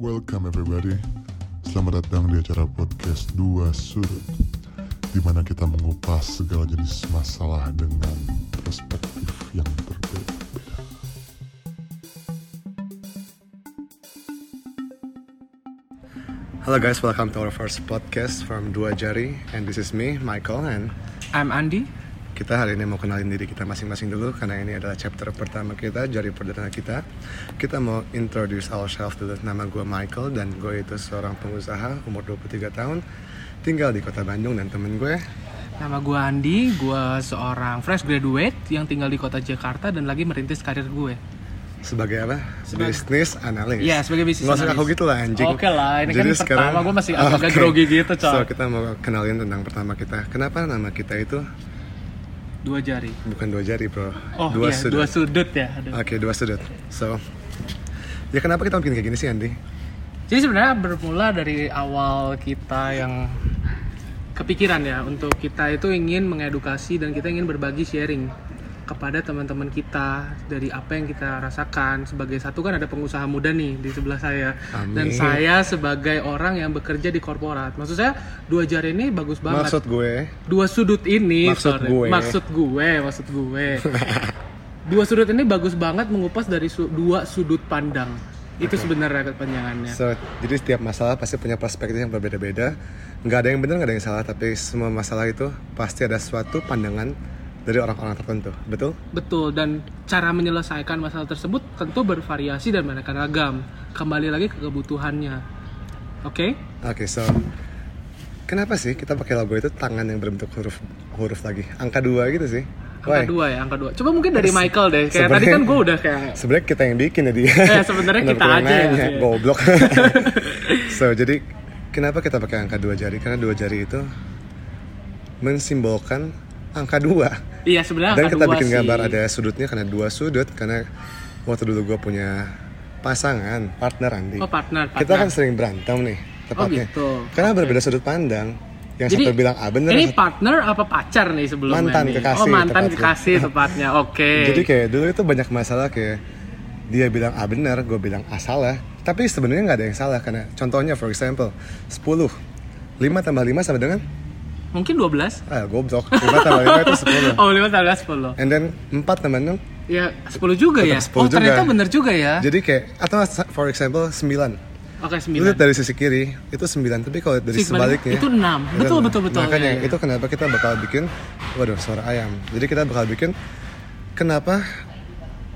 Welcome everybody. Selamat datang di acara podcast Dua Sudut di mana kita mengupas segala jenis masalah dengan perspektif yang berbeda. Hello guys, welcome to our first podcast from Dua Jari and this is me, Michael and I'm Andi. kita hari ini mau kenalin diri kita masing-masing dulu karena ini adalah chapter pertama kita, jari perdana kita. Kita mau introduce ourselves dulu. Nama gue Michael dan gue itu seorang pengusaha umur 23 tahun, tinggal di kota Bandung dan temen gue Nama gue Andi, gue seorang fresh graduate yang tinggal di kota Jakarta dan lagi merintis karir gue. sebagai apa? Sebagai- Business analyst. Iya, sebagai business Nggak usah analyst. aku gitu lah anjing. Oke lah, ini kan pertama, gua masih agak-agak Oke. grogi gitu, Cok. So, kita mau kenalin tentang pertama kita. Kenapa nama kita itu Dua jari. bukan dua jari, Bro? Oh dua iya, sudut. Ah. dua sudut ya. Aduh. Oke, dua sudut. So, ya kenapa kita bikin kayak gini sih, Andi? Jadi sebenarnya bermula dari awal kita yang kepikiran ya untuk kita itu ingin mengedukasi dan kita ingin berbagi sharing kepada teman-teman kita dari apa yang kita rasakan sebagai satu kan ada pengusaha muda nih di sebelah saya dan Amin. saya sebagai orang yang bekerja di korporat maksud saya dua jari ini bagus banget Maksud gue, dua sudut ini Maksud sorry. gue. maksud gue maksud gue dua sudut ini bagus banget mengupas dari su- dua sudut pandang itu sebenarnya kepanjangannya so, jadi setiap masalah pasti punya perspektif yang berbeda-beda. Nggak ada yang benar, nggak ada yang salah, tapi semua masalah itu pasti ada suatu pandangan dari orang-orang tertentu, betul? betul dan cara menyelesaikan masalah tersebut tentu bervariasi dan beraneka ragam kembali lagi ke kebutuhannya oke Oke, so kenapa sih kita pakai logo itu tangan yang berbentuk huruf huruf lagi, angka dua gitu sih? angka dua ya angka dua coba mungkin dari Michael deh kayak sebenarnya- tadi kan gue udah kayak Sebenarnya kita yang bikin ya, jadi. Eh, sebenarnya kita aja ya, iya. Goblok. so, jadi kenapa kita pakai angka dua jari? Karena dua jari itu mensimbolkan angka dua. iya sebenarnya Dan angka kita dua bikin sih. gambar ada sudutnya karena dua sudut karena waktu dulu gue punya pasangan, partner Andi. oh partner partner Kita kan sering berantem nih, tepatnya. gitu. Karena berbeda sudut pandang. Yang Jadi, satu bilang A bener, ini yang satu partner apa pacar nih sebelumnya Mantan nih? kekasih oh mantan tepatnya. kekasih tepatnya oke Jadi kayak dulu itu banyak masalah kayak dia bilang A benar, gue bilang A salah. Tapi sebenarnya nggak ada yang salah karena contohnya for example 10 5 tambah 5 sama dengan mungkin 12 ah goblok 5 tambah 5 itu 10 oh 5 tambah 10 and then 4 tambah 6 ya 10 juga ya Tetap 10 oh ternyata juga. bener juga ya jadi kayak atau for example 9 oke Lu lihat 9 dari sisi kiri itu 9 tapi kalau dari Sisi kebalik, sebaliknya itu enam. Betul, enam. betul, betul. makanya Iya, iya. itu kenapa kita bakal bikin waduh suara ayam jadi kita bakal bikin kenapa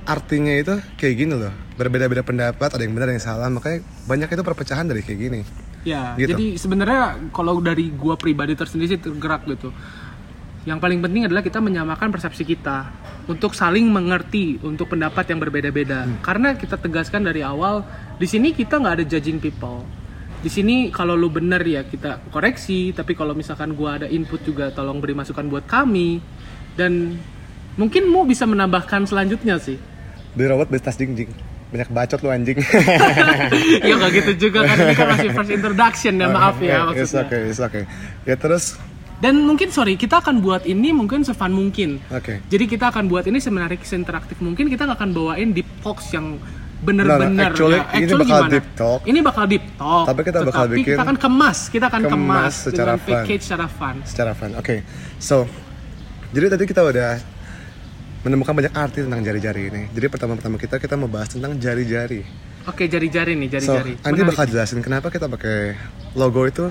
artinya itu kayak gini loh berbeda-beda pendapat ada yang benar ada yang salah makanya banyak itu perpecahan dari kayak gini ya gitu. jadi sebenarnya kalau dari gua pribadi tersendiri sih tergerak gitu yang paling penting adalah kita menyamakan persepsi kita untuk saling mengerti untuk pendapat yang berbeda-beda Hmm. karena kita tegaskan dari awal di sini kita nggak ada judging people di sini kalau lu bener ya kita koreksi tapi kalau misalkan gua ada input juga tolong beri masukan buat kami dan mungkin mu bisa menambahkan selanjutnya sih beli robot beli tas jingjing banyak bacot lu anjing ya nggak gitu juga kan ini kan masih first introduction ya maaf ya Eh, it's maksudnya okay it's okay ya terus Dan mungkin sorry, kita akan buat ini mungkin sefun mungkin. oke Jadi kita akan buat ini semenarik seinteraktif mungkin. Kita nggak akan bawain deep talks yang No, no, bener-bener. actually, ya. ini bakal deep talk. Ini bakal deep talk. Tapi kita bakal Tetapi bikin kita akan kemas, kita akan kemas kemas, secara dengan package secara fun. secara fun oke so jadi tadi kita udah menemukan banyak arti tentang jari-jari ini jadi pertama-tama kita kita mau bahas tentang jari-jari Oke, jari-jari nih, so jari-jari. Andi Menarik. bakal jelasin kenapa kita pakai logo itu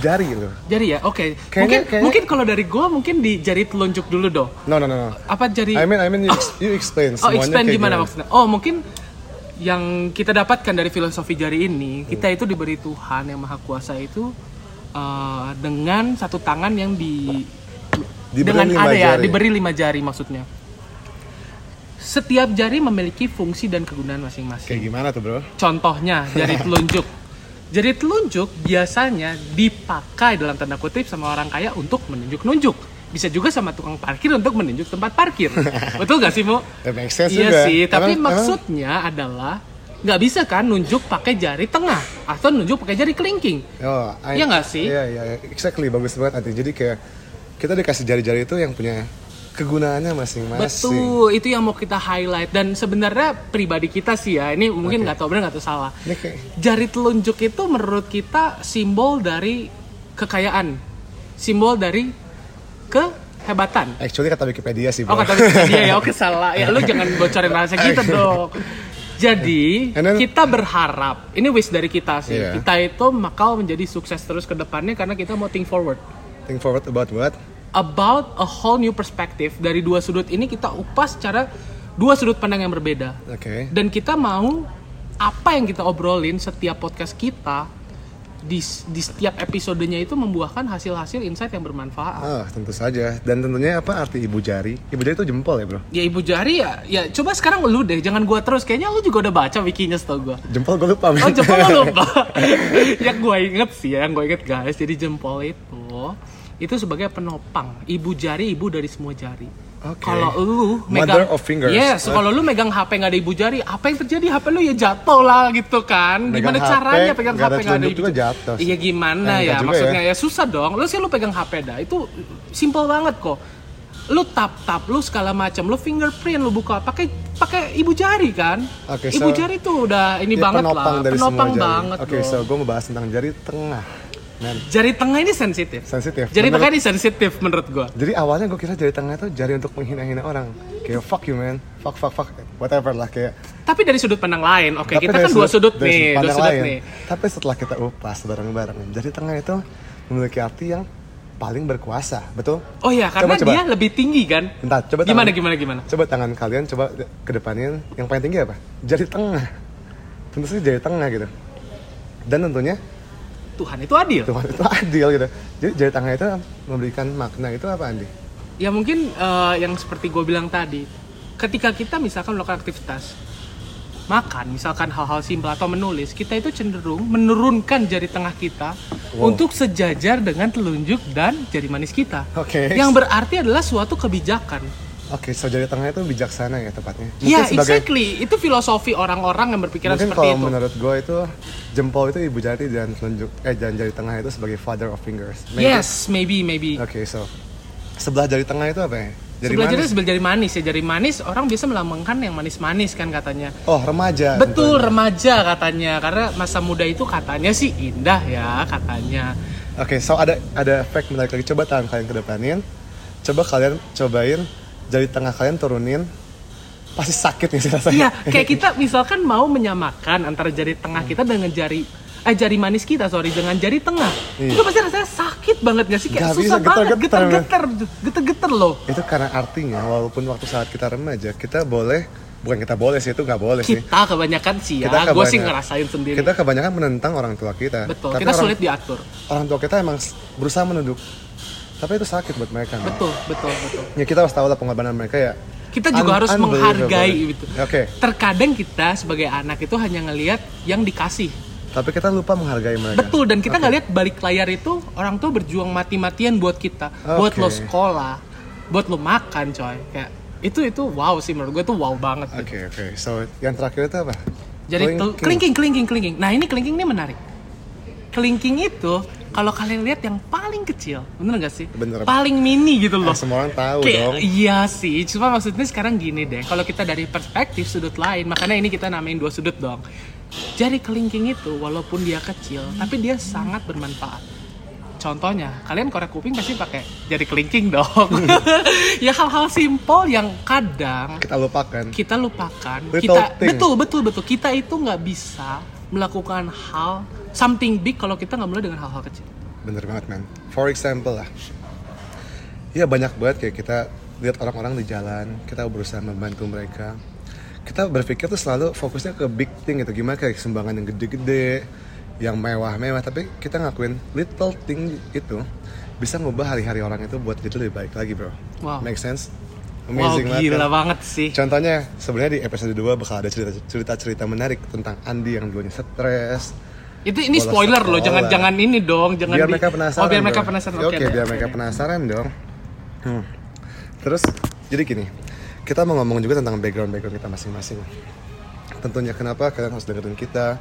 jari loh Jari ya, oke. Kayaknya- Mungkin kayaknya- mungkin kalau dari gua mungkin di jari telunjuk dulu dong. no no no, no. Apa jari? I mean, I mean, you, ex- you explain Oh, semuanya expand kayak gimana maksudnya? Oh, mungkin yang kita dapatkan dari filosofi jari Hmm. ini, kita itu diberi Tuhan yang Maha Kuasa itu eh, dengan satu tangan yang di Diberi dengan lima area jari. diberi lima jari maksudnya. Setiap jari memiliki fungsi dan kegunaan masing-masing. Kayak gimana tuh bro? Contohnya jari telunjuk. Jari telunjuk biasanya dipakai dalam tanda kutip sama orang kaya untuk menunjuk-nunjuk. Bisa juga sama tukang parkir untuk menunjuk tempat parkir. Betul gak sih, Mo? Ya, make sense iya juga. sih, tapi Emang- maksudnya adalah nggak bisa kan nunjuk pakai jari tengah atau nunjuk pakai jari kelingking. Oh, I- Iya nggak sih? Iya, iya, exactly bagus banget Adi. Jadi kayak kita dikasih jari-jari itu yang punya kegunaannya masing-masing. Betul, itu yang mau kita highlight dan sebenarnya pribadi kita sih ya, ini mungkin nggak tahu benar nggak tahu salah. Ini kayak- Jari telunjuk itu menurut kita simbol dari kekayaan, simbol dari kehebatan. Actually kata Wikipedia sih, Oh bro. kata dia ya, oke salah. Ya lu jangan bocorin rahasia kita dong. Jadi And then- kita berharap ini wish dari kita sih. Iya. Kita itu bakal menjadi sukses terus ke depannya karena kita mau think forward Think forward about what? about a whole new perspective dari dua sudut ini kita upas secara dua sudut pandang yang berbeda Oke. dan kita mau apa yang kita obrolin setiap podcast kita di, di setiap episodenya itu membuahkan hasil-hasil insight yang bermanfaat Ah, tentu saja. Dan tentunya apa arti ibu jari? Ibu jari itu jempol ya, bro? ya ibu jari ya ya coba sekarang lu deh jangan gua terus kayaknya lu juga udah baca wikinya setau gua Jempol gue lupa, men. Oh jempol lo lupa. yang gue inget sih, yang gue inget guys. Jadi jempol itu itu sebagai penopang, ibu jari, ibu dari semua jari. Oke. Kalau lu Mother of fingers. Yes, Huh? kalau lu megang HP nggak ada ibu jari, apa yang terjadi? HP lu ya jatuh lah gitu kan. Megang gimana HP, caranya pegang nggak HP ada nggak ada telunjuk ibu juga jari? jatuh sih. Iya Eh, gimana nggak ya? juga Maksudnya ya susah dong. Lu sih lu pegang HP dah. Itu simple banget kok. Lu tap tap, lu segala macam, lu fingerprint, lu buka pakai pakai ibu jari kan? Oke, so- ibu jari tuh udah ini Dia banget penopang lah. dari penopang semua jari. banget Oke, dong. so gue mau bahas tentang jari tengah. Men, Jari tengah ini sensitif. sensitif. Jari Menurut- tengah ini sensitif menurut gua. Jadi awalnya gue kira jari tengah itu jari untuk menghina-hina orang. Kayak fuck you man, fuck fuck fuck, whatever lah kayak. Tapi dari sudut pandang lain, oke Tapi kita dari kan dua sudut dari nih, dua pandang sudut lain. nih. Tapi setelah kita upas bareng-bareng, jari tengah itu memiliki arti yang paling berkuasa, betul? Oh ya, karena Coba, coba. dia lebih tinggi kan. Bentar, coba Gimana tangan- gimana gimana? Coba tangan kalian coba kedepanin yang paling tinggi apa? Jari tengah. Tentu saja jari tengah gitu. Dan tentunya Tuhan itu adil. Tuhan itu adil gitu. Jadi jari tengah itu memberikan makna itu apa Andi? Ya mungkin eh, yang seperti gue bilang tadi, ketika kita misalkan melakukan aktivitas makan, misalkan hal-hal simpel atau menulis, kita itu cenderung menurunkan jari tengah kita Wow. untuk sejajar dengan telunjuk dan jari manis kita. Oke. Yang berarti adalah suatu kebijakan. Oke, so jari tengah itu bijaksana ya tepatnya. Mungkin Ya, sebagai exactly. Itu filosofi orang-orang yang berpikiran mungkin seperti kalau itu. menurut gue itu jempol itu ibu jari dan telunjuk eh dan jari tengah itu sebagai father of fingers. Maybe- Yes, maybe, maybe. Oke, so sebelah jari tengah itu apa ya? Jari sebelah jari manis. sebelah jari manis ya. Jari manis orang biasa melambangkan yang manis-manis kan katanya. Oh, remaja. Betul remaja katanya karena masa muda itu katanya sih indah ya katanya. Oke, so ada ada efek menarik lagi. Coba tangan kalian kedepanin. Coba kalian cobain jari tengah kalian turunin. Pasti sakit nih sih rasanya. Iya, kayak kita misalkan mau menyamakan antara jari tengah kita dengan jari eh jari manis kita sorry dengan jari tengah. Iya. Itu pasti rasanya sakit banget gak sih? Kayak Nggak bisa, susah banget getar-getar, men. geter-geter geter-geter loh. Itu karena artinya walaupun waktu saat kita remaja kita boleh bukan kita boleh sih itu nggak boleh Iya sih. Kita kebanyakan sih Kita ya, gue sih kebanyakan- ngerasain sendiri. Kita kebanyakan menentang orang tua kita. Betul, Tapi kita orang, sulit diatur. orang tua kita emang s- berusaha menunduk. Tapi itu sakit buat mereka. Mel. Betul, betul, betul. Ya kita harus tahu lah pengorbanan mereka ya. Kita juga Un- harus unbelievable. menghargai gitu. Oke. Terkadang kita sebagai anak itu hanya ngelihat yang dikasih. Tapi kita lupa menghargai mereka. Betul dan kita nggak lihat balik layar itu orang tuh berjuang mati-matian buat kita, buat Oke. lo sekolah, buat lo makan coy. Kayak itu itu wow sih menurut gue tuh wow banget. Oke oke. So yang terakhir itu apa? Jadi tel- kelingking, kelingking, kelingking. Nah ini kelingking ini menarik. Kelingking itu kalau kalian lihat yang paling kecil, bener gak sih? Bener. Paling mini gitu Ah, loh. semua orang tahu Kayak- dong. Iya sih, cuma maksudnya sekarang gini deh. Kalau kita dari perspektif sudut lain, makanya ini kita namain dua sudut dong. Jari kelingking itu walaupun dia kecil, tapi dia sangat bermanfaat. Contohnya, kalian korek kuping pasti pakai jari kelingking dong. ya hal-hal simpel yang kadang Kita lupakan. kita lupakan Little kita thing. betul betul betul kita itu nggak bisa melakukan hal something big kalau kita nggak mulai dengan hal-hal kecil Bener banget man. For example lah. Ya banyak banget kayak kita lihat orang-orang di jalan, kita berusaha membantu mereka. Kita berpikir tuh selalu fokusnya ke big thing gitu, gimana kayak sumbangan yang gede-gede, yang mewah-mewah, tapi kita ngakuin little thing itu bisa ngubah hari-hari orang itu buat jadi lebih baik lagi, Bro. Wow. Make sense? wow banget, gila kan? banget sih Contohnya sebenarnya di episode 2 bakal ada cerita- cerita-cerita menarik tentang Andi yang dulunya stres. itu ini bola spoiler loh sekolah. jangan jangan ini dong jangan biar di- mereka penasaran. oh biar dong. mereka penasaran Oke, ada. biar mereka penasaran dong. Hmm. Terus jadi gini, kita mau ngomong juga tentang background-background kita masing-masing. Tentunya kenapa kalian harus dengerin kita?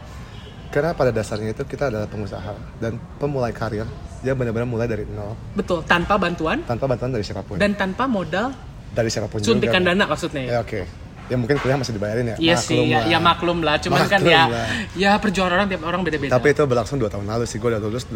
Karena pada dasarnya itu kita adalah pengusaha dan pemulai karir yang benar-benar mulai dari nol betul tanpa bantuan tanpa bantuan dari siapapun. dan tanpa modal dari siapapun Suntikan juga. dana maksudnya ya? Ya oke. Ya mungkin kuliah masih dibayarin ya. Iya sih, lah. ya, ya maklum lah. Cuman kan Maklum ya, lah. ya perjuangan orang tiap orang beda-beda. Tapi itu berlangsung 2 tahun lalu sih. Gue udah lulus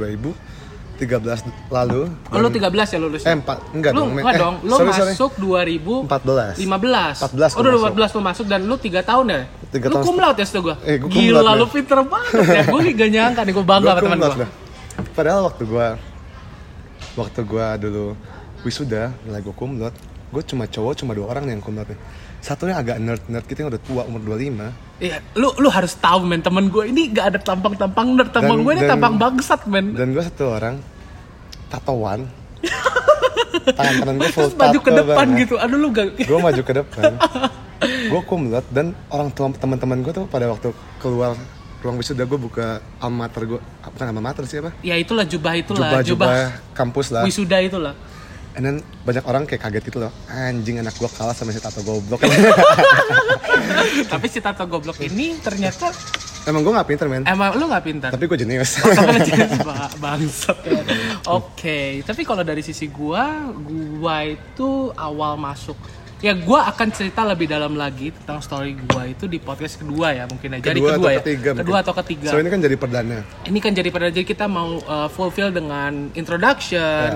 2013 lalu. oh, lu 13 ya lulusnya? Eh, empat. Enggak lu dong, men. enggak Eh, dong, lu sorry, sorry. masuk 14. 2015 14 Oh, gua 2014 lu masuk dan lu 3 tahun ya? Tiga lu tahun cum laude ya setelah gua? Eh, gua cum Gila, laude, lu men. pinter banget ya Gue gak nyangka nih, gue bangga Gua sama temen kumlot gue dah. Padahal waktu gua waktu gua dulu wisuda nilai gua kumlot, gua cuma cowok cuma dua orang nih yang kumlot nih. Satunya agak nerd-nerd gitu yang udah tua umur 25 Iya, lu lu harus tahu men temen gue ini gak ada tampang-tampang nerd tampang Dan- gue ini dan- tampang bangsat men. dan gua satu orang tatoan. Tangan kanan gua full Terus maju ke tato ya. depan banget. gitu, aduh lu gak. gue maju ke depan gue kumlot dan orang tua teman-teman gue tuh pada waktu keluar ruang wisuda gue buka alma mater gue bukan alma mater sih apa Ya itulah jubah itulah, jubah jubah jubah, kampus lah wisuda itulah. and then banyak orang kayak kaget gitu loh anjing anak gue kalah sama si tato goblok Tapi si tato goblok ini ternyata emang gue nggak pinter men emang lu gak pintar. tapi gue jenius Sama jenis ba- bangsat. Oke, tapi kalau dari sisi gua, gua itu awal masuk. Ya gua akan cerita lebih dalam lagi tentang story gua itu di podcast kedua ya mungkin aja. Jadi Kedua atau kedua ya. ketiga mungkin. kedua atau ketiga. so ini kan jadi perdana ini kan jadi pada jadi kita mau uh, fulfill dengan introduction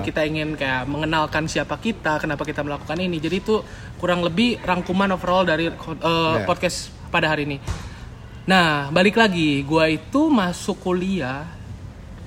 Ya. kita ingin kayak mengenalkan siapa kita kenapa kita melakukan ini jadi itu kurang lebih rangkuman overall dari uh, Ya. podcast pada hari ini nah balik lagi gua itu masuk kuliah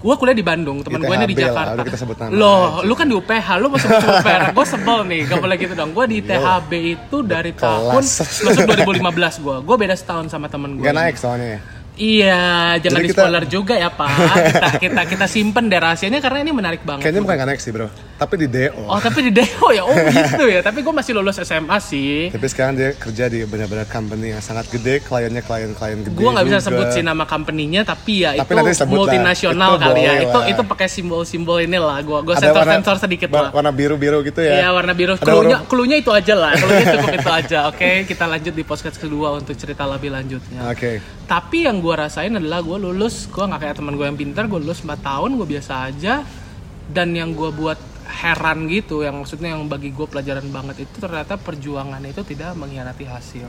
gua kuliah di Bandung teman gue ini ITHB di lah, Jakarta udah kita sebut nama Iya. loh lu kan di UPH lu mau sebut sebut merek gue sebel nih gak boleh gitu dong gue di THB itu dari tahun Iya. kelas. maksud 2015 gue gue beda setahun sama temen gue nggak naik soalnya ya Iya, jangan Jadi di kita- spoiler juga ya Pak. Kita kita kita simpen deh rahasianya karena ini menarik banget. kayaknya bukan nggak naik sih bro tapi di do Oh tapi di Deo ya, oh gitu ya. Tapi gue masih lulus SMA sih. tapi sekarang dia kerja di benar-benar company yang sangat gede kliennya klien klien gede Gue nggak bisa juga. sebut sih nah. nama company-nya, tapi ya Tapi itu nanti sebut lah. multinasional Itu kali ya. boleh Itu lah. itu pakai simbol-simbol inilah. Gue gue Ada warna- sensor-sensor sedikit wa- lah. Warna biru-biru gitu ya. Iya warna biru. Ada Cluenya, huruf- cluenya itu aja lah. Cluenya cukup itu aja. Oke, kita lanjut di podcast kedua untuk cerita lebih lanjutnya. Oke. tapi yang gue rasain adalah gue lulus gue nggak kayak teman gue yang pintar gue lulus 4 tahun gue biasa aja dan yang gue buat heran gitu yang maksudnya yang bagi gue pelajaran banget itu ternyata perjuangan itu tidak mengkhianati hasil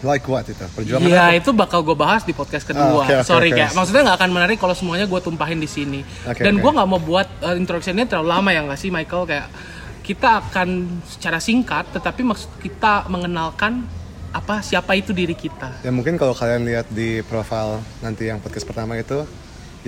Like what itu? Perjuangan. Iya itu bakal gue bahas di podcast kedua. Ah, oke, oke, Sorry oke. kayak maksudnya nggak akan menarik kalau semuanya gue tumpahin di sini. Oke, Dan oke. gue nggak mau buat uh, introduction-nya terlalu lama ya nggak sih Michael kayak kita akan secara singkat tetapi maksud kita mengenalkan apa siapa itu diri kita. Ya mungkin kalau kalian lihat di profile nanti yang podcast pertama itu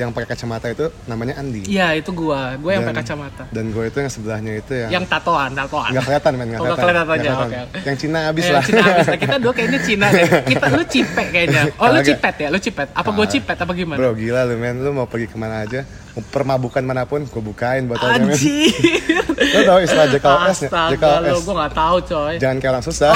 yang pakai kacamata itu namanya Andi. Iya itu gue, gue Dan- yang pakai kacamata, Dan gue itu yang sebelahnya itu yang yang tatoan, Kan. tatoan. nggak kelihatan men, nggak Oh, nggak kelihatan. kelihatan Nggak aja, kelihatan. oke, oke. Yang Cina abis Eh, lah. Cina habis lah. Kita dua kayaknya Cina deh. Kita lu cipet kayaknya. Oh lu Kagak. cipet ya, lu cipet. Apa gue cipet apa gimana? Ah. Bro gila lu men, lu mau pergi kemana aja, mau permabukan manapun, gue bukain botolnya men. Anjir. Lu tau istilah JKOS nggak? Astaga JKOS. lu, gue nggak Oh. tahu coy. Jangan kayak orang susah.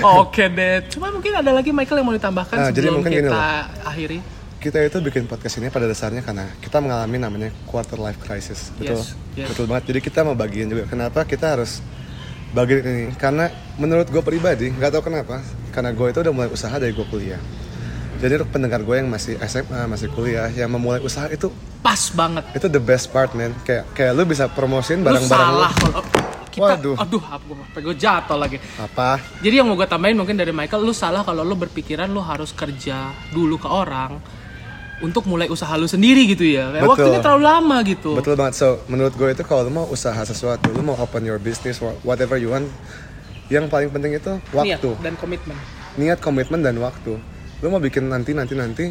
Oke deh. Cuma mungkin ada lagi Michael yang mau ditambahkan Nah, sebelum jadi mungkin gini kita loh. akhiri. kita itu bikin podcast ini pada dasarnya karena kita mengalami namanya quarter life crisis betul Yes, yes. betul banget jadi kita mau bagiin juga kenapa kita harus bagiin ini karena menurut gue pribadi nggak tahu kenapa karena gue itu udah mulai usaha dari gue kuliah jadi untuk pendengar gue yang masih SMA masih kuliah yang memulai usaha itu Pas banget. itu the best part man kayak kayak lu bisa promosiin Lu barang-barang lu salah kalau kita. Waduh. Aduh, apa gue gue jatuh lagi. apa Jadi yang mau gue tambahin mungkin dari Michael, lu salah kalau lu berpikiran lu harus kerja dulu ke orang untuk mulai usaha lu sendiri gitu ya. Kayak Betul. waktunya terlalu lama gitu. Betul banget. So, menurut gue itu kalau lu mau usaha sesuatu, lu mau open your business, wha- whatever you want, yang paling penting itu Niat waktu. ya, dan komitmen. niat komitmen dan waktu lu mau bikin nanti nanti nanti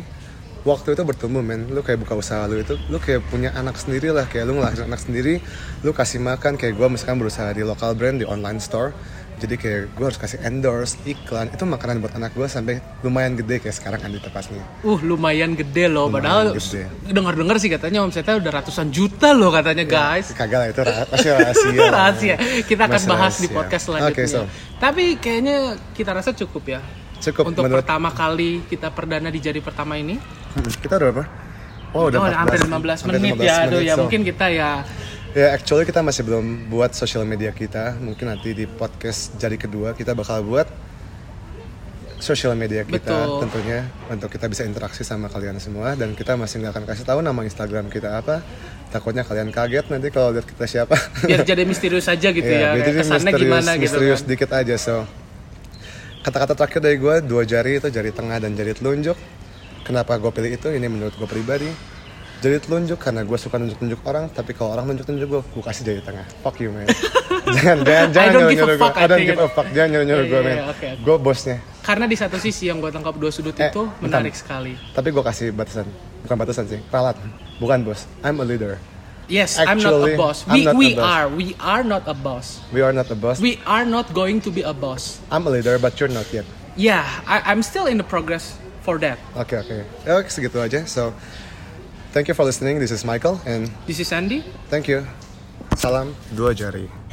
waktu itu bertumbuh men lu kayak buka usaha lu itu lu kayak punya anak sendiri lah kayak lu ngelahirin anak sendiri lu kasih makan kayak gue misalkan berusaha di lokal brand di online store jadi kayak gue harus kasih endorse iklan itu makanan buat anak gue sampai lumayan gede kayak sekarang kan Andi tepasnya Uh, lumayan gede loh. Padahal gede. dengar-dengar sih katanya omsetnya udah ratusan juta loh katanya Iya. guys. kagak lah itu ra- pasti rahasia rahasia. Kita akan Iya. Masih bahas di rahasia. podcast Oke, selanjutnya. so. Tapi kayaknya kita rasa cukup ya. cukup Untuk menurut pertama kali kita perdana di jadi pertama ini. Hmm, kita udah berapa oh udah oh, hampir 15 menit ya. Aduh ya mungkin mungkin kita ya Ya, actually kita masih belum buat social media kita. Mungkin nanti di podcast jadi kedua kita bakal buat sosial media kita Betul. tentunya untuk kita bisa interaksi sama kalian semua dan kita masih nggak akan kasih tahu nama Instagram kita apa takutnya kalian kaget nanti kalau lihat kita siapa biar jadi misterius aja gitu Iya, ya, jadi kayak kesannya misterius, gimana gitu misterius kan. dikit aja so kata-kata terakhir dari gue dua jari itu jari tengah dan jari telunjuk kenapa gue pilih itu ini menurut gue pribadi jari telunjuk karena gue suka nunjuk-nunjuk orang tapi kalau orang nunjuk-nunjuk gue gue kasih jari tengah fuck you man jangan jangan jangan I don't nyuruh give a nyuruh gue fuck, I don't I think give a fuck jangan nyuruh nyuruh Iya, gue iya, man iya, oke, oke. gue bosnya Karena di satu sisi yang gue tangkap dua sudut Eh, itu bentar. menarik sekali. tapi gue kasih batasan bukan batasan sih ralat bukan bos I'm a leader Yes, Actually, I'm not a boss. I'm We not a we boss. are we are not a boss. we are not a boss We are not going to be a boss. I'm a leader but you're not yet Yeah, I, I'm still in the progress for that. Oke oke. Ya, Oke segitu aja. So thank you for listening. This is Michael and This is Andy. thank you. Salam dua jari.